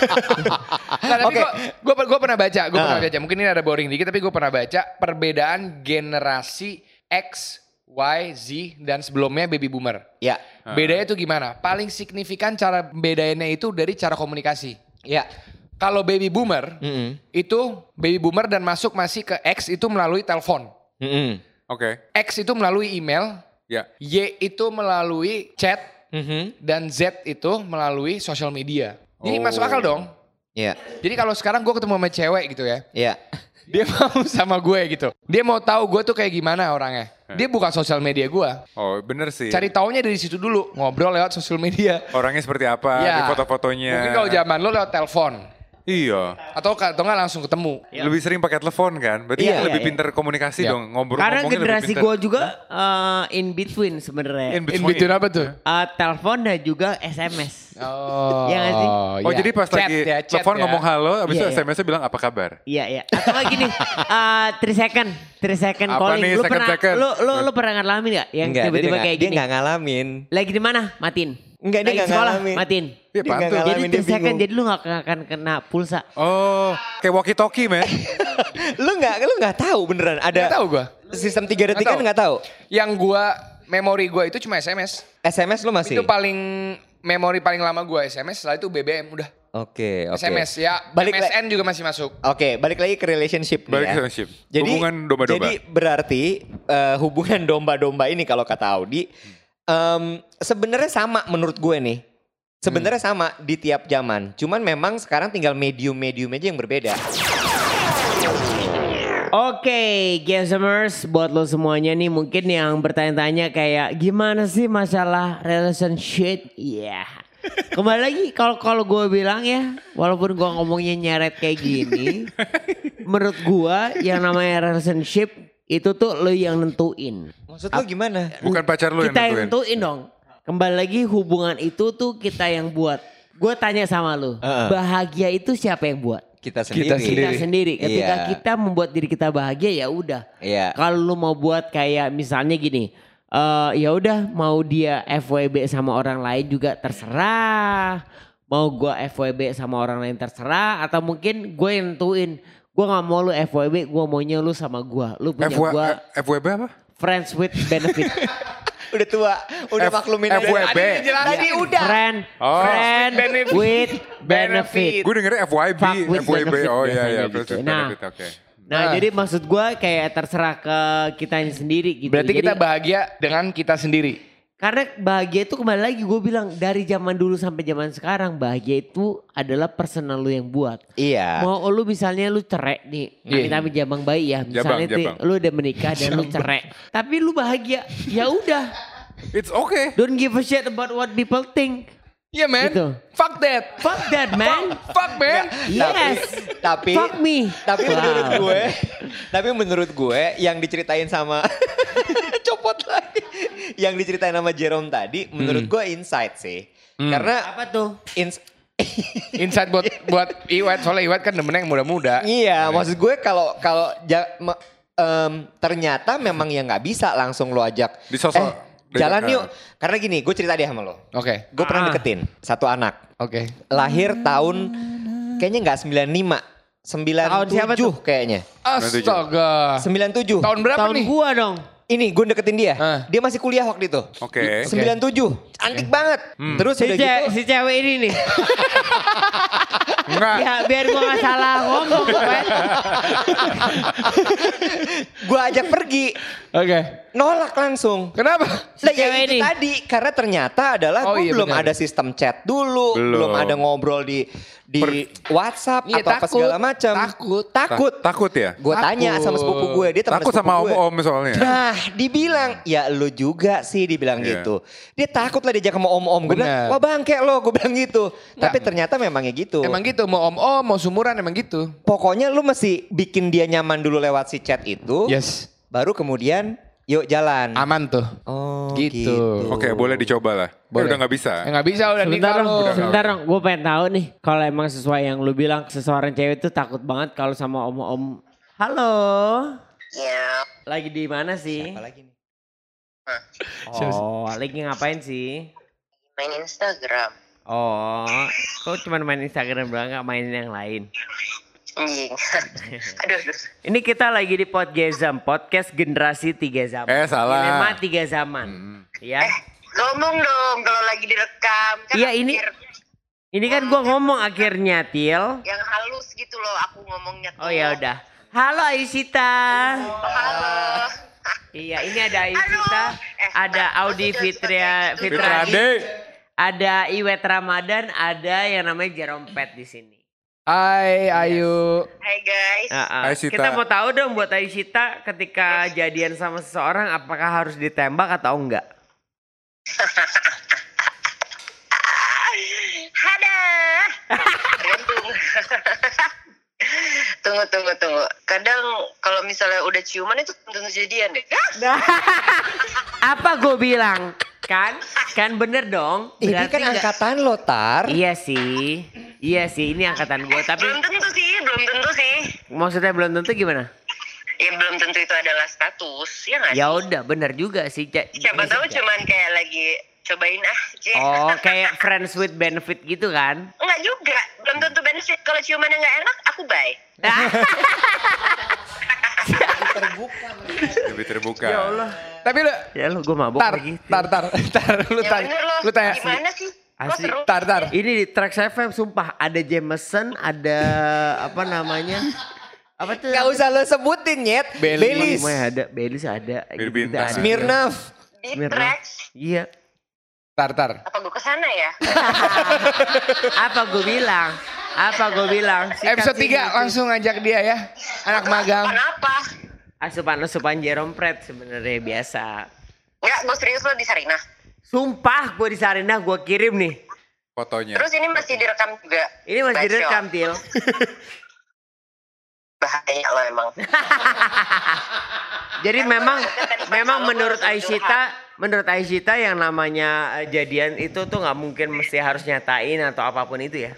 D: Nah, tapi
A: Ah, Oke.
D: gue gue pernah baca, gue
A: Ah.
D: pernah baca. Mungkin ini ada boring dikit, tapi gue pernah baca perbedaan generasi X, Y, Z dan sebelumnya baby boomer.
A: Ya.
D: Bedanya itu gimana? Paling signifikan cara bedanya itu dari cara komunikasi.
A: Ya.
D: Kalau baby boomer
A: Mm-mm.
D: itu baby boomer dan masuk masih ke X itu melalui telepon,
A: Mm-mm.
B: Oke.
D: X itu melalui email,
B: Ya.
D: Y itu melalui chat
A: Mhm.
D: dan Z itu melalui sosial media. Jadi
B: Oh.
D: masuk akal dong.
A: Ya.
D: Jadi kalau sekarang gue ketemu sama cewek gitu ya,
A: Ya.
D: dia mau sama gue gitu. Dia mau tahu gue tuh kayak gimana orangnya.
B: Eh.
D: Dia bukan sosial media gue.
B: Oh bener sih.
D: Cari taunya dari situ dulu, ngobrol lewat sosial media. Ya.
B: Orangnya seperti apa? Ah, di Foto-fotonya.
D: Iya. Mungkin kalau zaman lo lewat telepon
B: Iya.
D: atau atau nggak langsung ketemu.
B: Lebih sering pakai telepon kan? Berarti
A: Iya,
B: lebih
C: iya,
B: pintar komunikasi
D: Iya.
B: dong. Ngobrol
C: Karena
B: ngomongnya lebih
C: generasi
B: pintar.
C: gue juga eh, in between sebenarnya.
B: In
D: In
B: between.
D: between apa tuh?
C: Eh, telepon dan juga SMS.
D: Oh,
C: Iya nggak sih?
B: Oh jadi pas
D: Chat
B: lagi
D: ya, chat
B: telepon
D: ya.
B: ngomong halo, abis
C: Iya,
B: itu
C: iya.
B: SMS-nya bilang apa kabar?
C: Iya iya. Atau lagi nih, eh 3 second, 3 second
B: Apa
C: calling.
B: nih
C: lu
B: second,
C: pernah
B: second?
C: lu lu lu pernah ngalamin gak yang
A: Enggak, dia
C: tiba-tiba
A: enggak-
C: kayak
A: dia
C: gini? Nah,
A: enggak ngalamin.
C: Lagi di mana? Matiin.
A: Enggak, dia enggak
C: Lagi di sekolah,
A: ngalamin.
C: Matiin.
B: Iya,
A: Dia
B: apaan
A: nggak
B: tuh?
A: ngalamin,
C: Jadi
A: dia
C: 3 second,
A: bingung.
C: jadi lu gak akan kena pulsa.
B: Oh, kayak walkie talkie men.
A: Lu enggak lu enggak tahu beneran ada
D: Nggak tahu gua.
A: Sistem 3 detik
D: Nggak
A: kan
D: tahu.
A: enggak tahu.
D: Yang gue memori gue itu cuma SMS.
A: SMS lu masih.
D: Itu paling memori paling lama gue SMS. Setelah itu BBM udah.
A: Oke, oke.
D: SMS ya.
A: Balik la-
D: MSN juga masih masuk.
A: Oke, balik lagi ke relationship nih
B: Balik
A: ya.
C: Iya.
B: ke relationship. Hubungan domba-domba.
A: Jadi berarti eh, hubungan domba-domba ini kalau kata Audi em, sebenarnya sama menurut gue nih. Sebenarnya
D: Hmm.
A: sama di tiap zaman. Cuman memang sekarang tinggal medium-medium aja yang berbeda.
C: Oke, Gamesers, buat lo semuanya nih mungkin yang bertanya-tanya kayak gimana sih masalah relationship? Iya. Kembali lagi kalau kalau gue bilang ya, walaupun gue ngomongnya nyeret kayak gini, menurut gue yang namanya relationship itu tuh lo yang nentuin.
A: Maksud lo gimana?
B: Bukan pacar lu yang
C: kita yang
B: nentuin.
C: nentuin dong. Kembali lagi hubungan itu tuh kita yang buat. Gue tanya sama lo,
A: Heeh.
C: bahagia itu siapa yang buat?
A: Kita sendiri.
C: kita sendiri. Ketika
A: Iya.
C: kita membuat diri kita bahagia ya udah.
A: Iya.
C: Kalau lu mau buat kayak misalnya gini, eh ya udah mau dia FWB sama orang lain juga terserah. Mau gua FWB sama orang lain terserah atau mungkin gue yang nentuin gue nggak mau lu FWB, gue maunya lu sama gua. Lu punya
B: FW,
C: gua
B: FWB apa?
C: friends with benefit.
A: Udah tua, udah
B: F-
A: maklumin aja.
B: FWB.
A: Tadi
D: Iya.
A: udah.
C: Friend,
B: Oh.
C: friend with benefit.
B: Gue dengernya FYB,
C: Fuck with
B: FWB.
C: benefit
B: Oh iya
C: biasanya
B: iya,
C: gitu.
B: friends with
C: Nah.
B: benefit, oke.
C: Nah,
D: Ah.
C: jadi maksud gua kayak terserah ke kita sendiri gitu.
D: Berarti kita
C: Jadi-
D: bahagia dengan kita sendiri.
C: Karena bahagia itu kembali lagi gue bilang dari zaman dulu sampai zaman sekarang bahagia itu adalah personal lu yang buat.
A: Iya.
C: Mau lu misalnya lu cerai nih, kita
D: Iya.
C: yeah. jabang bayi ya, misalnya
B: Jabang,
C: tuh
B: jabang.
C: lu udah menikah dan lu cerai, tapi lu bahagia, ya udah,
B: It's okay.
C: don't give a shit about what people think.
D: Iya man.
C: Gitu.
D: Fuck that.
C: Fuck that man.
D: Fuck man.
C: yes.
A: Tapi
C: Fuck me.
A: Tapi
C: Wow.
A: menurut gue, tapi menurut gue yang diceritain sama copot lagi, yang diceritain sama Jerome tadi, menurut
C: Hmm.
A: gue insight sih. Karena
C: Apa tuh?
A: ins-
D: Insight buat buat Iwat soalnya Iwat kan demennya yang muda-muda.
A: iya, maksud gue kalau kalau ja- me- em, ternyata memang yang nggak bisa langsung lo ajak. Eh,
B: Disosok. Diajak,
A: jalan
B: ah.
A: yuk. Karena gini, gue cerita deh sama lo.
D: Oke.
A: Gue pernah
C: Ah.
A: deketin satu anak.
D: Oke.
A: Lahir tahun kayaknya nggak 95, 97
C: Tahun siapa tuh?
A: kayaknya.
D: Astaga.
A: 97.
D: Ah. Tahun berapa
C: Tahun
D: nih?
C: gua dong.
A: Ini gue deketin dia.
D: Ah.
A: Dia masih kuliah waktu itu.
B: Oke.
A: 97. Cantik banget.
D: Hmm.
A: Terus
C: Si,
A: udah
C: ce-
A: gitu.
C: si cewek ini nih.
B: Enggak.
C: ya biar gua gak salah ngomong. Wan.
A: Gue ajak pergi.
D: Oke.
A: Nolak langsung.
D: Kenapa?
C: Si
A: Lah, ya
C: cewek
A: itu
C: ini.
A: tadi karena ternyata adalah
D: Oh,
A: gue
D: iya,
A: belum
D: benar.
A: ada sistem chat dulu,
B: Belum.
A: belum ada ngobrol di di WhatsApp
D: Iya,
A: atau apa
D: takut,
A: segala macam.
D: takut.
A: takut.
B: Takut ya?
A: Gue tanya sama sepupu gue, dia teman
B: Takut
A: sepupu
B: sama
A: gue.
B: om-om soalnya.
A: Nah, dibilang, ya lu juga sih dibilang
B: Iya.
A: gitu. Dia takut lah diajak sama om-om. Gue bilang,
D: Benar.
A: wah bangke lo, gue bilang gitu.
B: Nah.
A: Tapi ternyata memangnya gitu.
D: Emang gitu, mau om-om, mau sumuran emang gitu.
A: Pokoknya lu mesti bikin dia nyaman dulu lewat si chat itu.
D: Yes.
A: Baru kemudian, yuk jalan.
D: Aman tuh.
A: Oh,
D: Gitu.
B: Oke, boleh dicoba lah. Eh,
D: Boleh.
B: Udah nggak bisa.
D: Ya nggak bisa udah
C: Sebentar
D: nikah
C: dong,
D: lu.
C: sebentar dong. Gue pengen tahu nih, kalau emang sesuai yang lu bilang, seseorang cewek tuh takut banget kalau sama om-om. Halo. Lagi di mana sih?
A: Apa lagi nih?
C: Oh, lagi ngapain sih?
G: main Instagram.
C: Oh, kok cuma main Instagram doang gak mainin yang lain?
G: Anjing. aduh, aduh.
C: Ini kita lagi di Podgasm, podcast generasi tiga zaman.
B: Eh, salah.
C: Dilema tiga zaman. Ya.
G: Ngomong dong kalau lagi direkam. Kan
C: Iya, ini-
G: biar
C: Ini kan gua ngomong akhirnya, Til.
G: yang halus gitu loh aku ngomongnya
C: Oh
G: tuh.
C: ya udah. Halo Aisita.
G: Halo.
C: Iya, ini ada Aisita,
G: Eh,
C: ada
G: maksud
C: Audi
G: lu
C: Fitria
G: seperti itu.
B: Fitrade.
C: Fitradi, ada Iwet Ramadan, ada yang namanya Jerompet di sini.
D: Hai Ayu.
G: Hai guys.
C: Ah, ah.
B: Aisita.
C: Kita mau tahu dong buat Aisita ketika jadian sama seseorang apakah harus ditembak atau enggak?
G: Hada. Tergantung. tunggu, tunggu, tunggu. Kadang kalau misalnya udah ciuman itu tentu jadian deh. Hah?
C: Nah, apa gue bilang? Kan? Kan bener dong.
A: Ini
C: Berarti
A: kan
C: nggak-
A: angkatan lo, Tar.
C: Iya sih. Iya sih, ini angkatan gue. Tapi
G: Belum tentu sih, belum tentu sih.
C: maksudnya belum tentu gimana?
G: Ya belum tentu itu adalah status, ya nggak sih?
C: Ya udah, bener juga sih. Ca-
G: Siapa
C: bisa
G: tahu
C: jadi.
G: cuman kayak lagi cobain ah. Cie.
C: Oh, kayak friends with benefit gitu kan?
G: Enggak juga, belum tentu benefit. Kalau ciumannya nggak enak, aku bye.
B: Lebih terbuka.
D: Tapi lu
C: Ya lu gue mabok
D: tar,
C: lagi.
D: tar, tar, tar, lu
G: Ya
D: tanya,
G: bener loh,
D: lu tanya, Ah,
G: gimana sih? Kok
C: Asli.
G: seru?
D: tar, tar,
C: Ini di Trax FM sumpah ada Jameson, ada apa namanya? Apa tuh?
A: Gak usah lo sebutin, Nyet.
D: Belis.
A: Belis.
C: Semuanya ya, ada, Belis ada.
B: Birbintang.
C: gitu-gitu ada.
A: Smirnov.
G: Di
C: Mirna.
G: tracks,
C: Iya.
D: tar, tar.
G: apa gue kesana ya?
C: Apa gue bilang? Apa gue bilang? Sikat
D: Episode
C: sini.
D: 3 langsung ngajak dia ya, anak magang.
G: Kenapa?
C: Ah, Asupan-asupan Jerome Pratt sebenarnya biasa.
G: Enggak, gue serius lo di Sarinah.
C: Sumpah gue di Sarinah gue kirim nih.
B: Fotonya.
D: Ya.
G: Terus ini masih direkam juga.
C: Ini masih
G: Bacot.
C: direkam, Til.
G: Bahaya lo emang.
C: Jadi memang
G: Tadi
C: memang
G: pacar lo
C: menurut
G: langsung
C: Aisyita, menurut Aisyita yang namanya eh, jadian itu tuh nggak mungkin mesti harus nyatain atau apapun itu ya.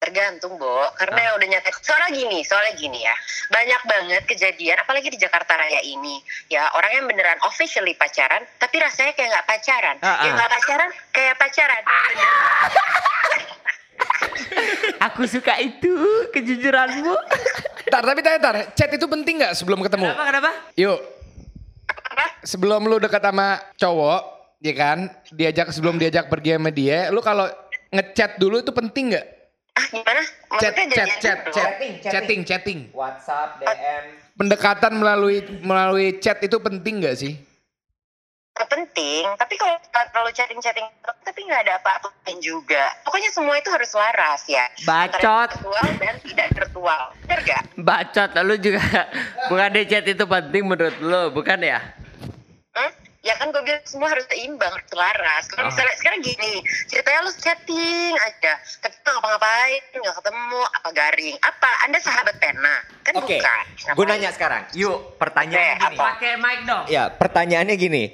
G: Tergantung, Bo. Karena
D: Ah.
G: yang udah nyata. Soalnya gini, soalnya gini ya. Banyak banget kejadian, apalagi di Jakarta Raya ini. Ya, orang yang beneran officially pacaran, tapi rasanya kayak nggak pacaran.
C: Ah,
G: Kayak
C: ah.
G: nggak pacaran, kayak pacaran.
D: Ah.
G: Bener.
C: Aku suka itu kejujuranmu.
D: Tar, tapi tanya, tar, chat itu penting nggak sebelum ketemu?
C: Kenapa kenapa?
D: Yuk,
G: Apa?
D: sebelum lu dekat sama cowok, ya kan, diajak sebelum diajak pergi sama dia, lu kalau ngechat dulu itu penting nggak?
G: Ah, gimana?
D: Chat,
G: Maksudnya gitu
D: chat,
G: jadian
D: chat, chat,
G: dulu?
A: Chatting, chatting.
D: chatting, chatting.
A: WhatsApp, DM.
D: Pendekatan melalui melalui chat itu penting nggak sih?
G: Nggak penting tapi kalau terlalu chatting chatting tapi nggak ada apa-apaan juga pokoknya semua itu harus laras ya
C: Bacot.
G: Antara virtual dan tidak virtual bener gak
C: Bacot lu juga. Bukan deh chat itu penting menurut lu, bukan ya?
G: Hmm? ya kan gue bilang semua harus seimbang harus laras kalau misalnya sekarang gini ceritanya lu chatting aja tapi lu ngapa-ngapain nggak ketemu apa garing apa anda sahabat pena kan
A: Oke,
G: bukan
A: gue nanya sekarang. Yuk, pertanyaan
G: Oke,
A: gini.
G: apa?
C: Pakai mic dong.
A: Ya, pertanyaannya gini.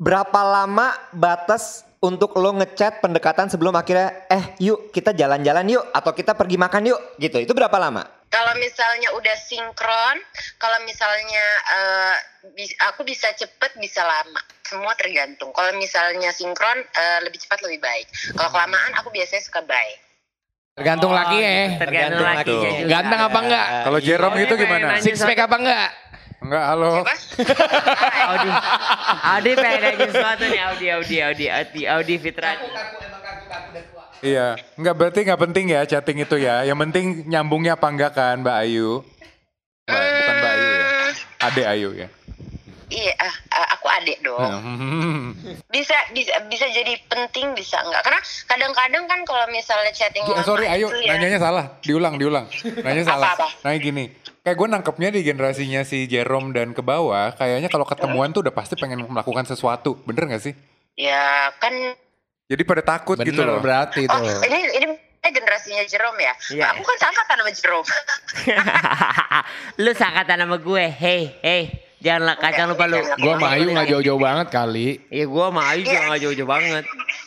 A: Berapa lama batas untuk lo ngechat pendekatan sebelum akhirnya eh yuk kita jalan-jalan yuk atau kita pergi makan yuk gitu. Itu berapa lama?
G: Kalau misalnya udah sinkron, kalau misalnya eh, bi- aku bisa cepet bisa lama, semua tergantung. Kalau misalnya sinkron eh, lebih cepat lebih baik. Kalau kelamaan aku biasanya suka baik.
D: Tergantung laki ya.
C: Iya, Oh, gitu. Tergantung laki
B: tuh.
C: juga.
D: Ganteng apa enggak?
B: Kalau Jerome
C: Iya.
B: itu gimana?
C: Iya.
D: Six pack apa enggak?
B: Enggak, halo.
G: Apa?
C: Audi. Audi pengen nanya sesuatu nih Audi Audi Audi Audi Audi Fitra.
B: Iya. Enggak berarti enggak penting ya chatting itu ya. Yang penting nyambungnya apa enggak kan Mbak Ayu? Mbak, bukan Mbak Ayu ya. Ade Ayu ya.
G: iya ah, ah, aku adik dong
B: Hmm.
G: bisa bisa bisa jadi penting bisa enggak karena kadang-kadang kan kalau misalnya chatting
B: Gi- eh,
G: lama
B: sorry, ayo
G: itu ya-
B: nanyanya salah, diulang, diulang. Nanya
G: Apa,
B: salah.
G: apa?
B: Nanya gini, kayak gue nangkepnya di generasinya si Jerome dan ke bawah, kayaknya kalau ketemuan tuh udah pasti pengen melakukan sesuatu, bener gak sih?
G: ya kan
B: Jadi pada takut
D: Bener
B: gitu loh.
D: berarti itu.
G: oh ini ini generasinya Jerome ya
C: Iya.
G: aku kan seangkatan sama Jerome
C: lu seangkatan sama gue. Hey, hey. Jangan lah, kacang lupa lu.
G: Enggak,
D: Gua sama Ayu gak jauh-jauh banget kali.
C: Iya, gue sama Ayu juga nggak jauh-jauh banget.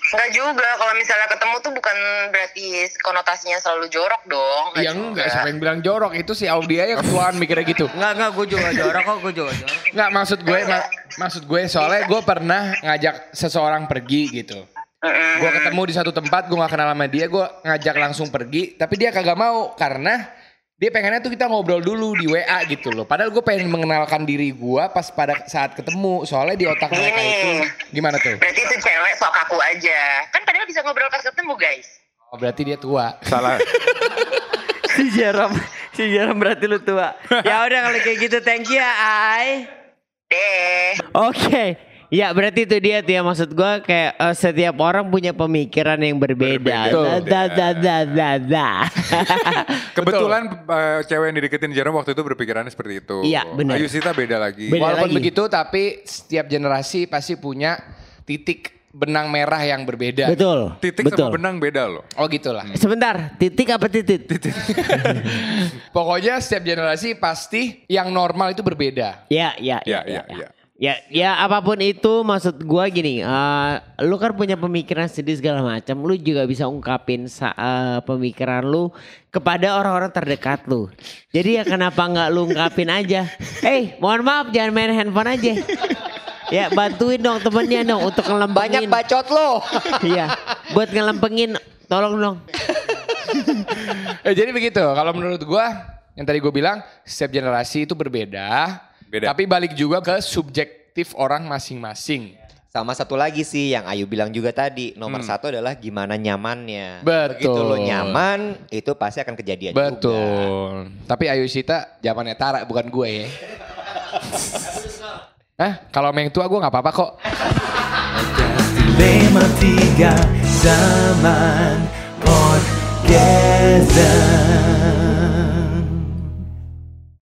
G: Enggak juga kalau misalnya ketemu tuh bukan berarti konotasinya selalu jorok dong Nggak
D: Ya enggak,
G: juga.
D: siapa yang bilang jorok itu si Audia yang ketuaan mikirnya gitu.
C: Enggak, enggak, gue juga nggak jorok kok, gue juga nggak jorok.
D: Enggak maksud gue, ma- maksud gue soalnya gue pernah ngajak seseorang pergi gitu.
G: Mm-mm.
D: Gue ketemu di satu tempat, gue gak kenal sama dia, gue ngajak langsung pergi, tapi dia kagak mau karena dia pengennya tuh kita ngobrol dulu di WA gitu loh. Padahal gue pengen mengenalkan diri gue pas pada saat ketemu. Soalnya di otak mereka
G: Gini.
D: itu gimana tuh?
G: berarti itu cewek sok aku aja kan padahal bisa ngobrol pas ketemu guys
D: Oh, berarti dia tua.
B: Salah.
C: Si Jerome, si Jerome berarti lu tua. Ya udah kalau kayak gitu, thank you ya, Ay.
G: deh
C: Oke. Ya berarti itu dia tuh ya maksud gua kayak eh, setiap orang punya pemikiran yang berbeda.
B: Berbeda.
C: Da, da, da, da, da.
B: Kebetulan eh, cewek yang dideketin Jerome waktu itu berpikirannya seperti itu.
C: Iya, bener.
B: Ayu Sita beda lagi.
C: Beda.
D: Walaupun
C: lagi.
D: begitu tapi setiap generasi pasti punya titik benang merah yang berbeda.
C: Betul. Hmm.
B: Titik sama
C: betul.
B: benang beda loh.
D: Oh gitulah.
C: Sebentar, titik apa titik?
D: Pokoknya setiap generasi pasti yang normal itu berbeda.
C: Ya, ya,
B: Ya, ya,
C: ya.
B: ya.
C: Ya, ya apapun itu maksud gua gini, eh, lu kan punya pemikiran sendiri segala macam, lu juga bisa ungkapin sa- eh, pemikiran lu kepada orang-orang terdekat lu. Jadi ya kenapa nggak lu ungkapin aja? Eh, mohon maaf jangan main handphone aja. Ya bantuin dong temennya dong untuk ngelempengin.
A: Banyak bacot lo.
C: Iya, buat ngelempengin, tolong dong.
D: Eh, jadi begitu. Kalau menurut gua yang tadi gue bilang setiap generasi itu berbeda.
B: Beda.
D: Tapi balik juga ke subjektif orang masing-masing.
A: Sama satu lagi sih yang Ayu bilang juga tadi, nomor
C: Hmm.
A: satu adalah gimana nyamannya.
D: Betul.
A: Begitu lo nyaman, itu pasti akan kejadian juga.
D: Betul. Tapi Ayu Sita zamannya Tara bukan gue ya. Hah? Kalau sama yang tua gue nggak apa-apa kok.
F: Dilema tiga zaman Podcaster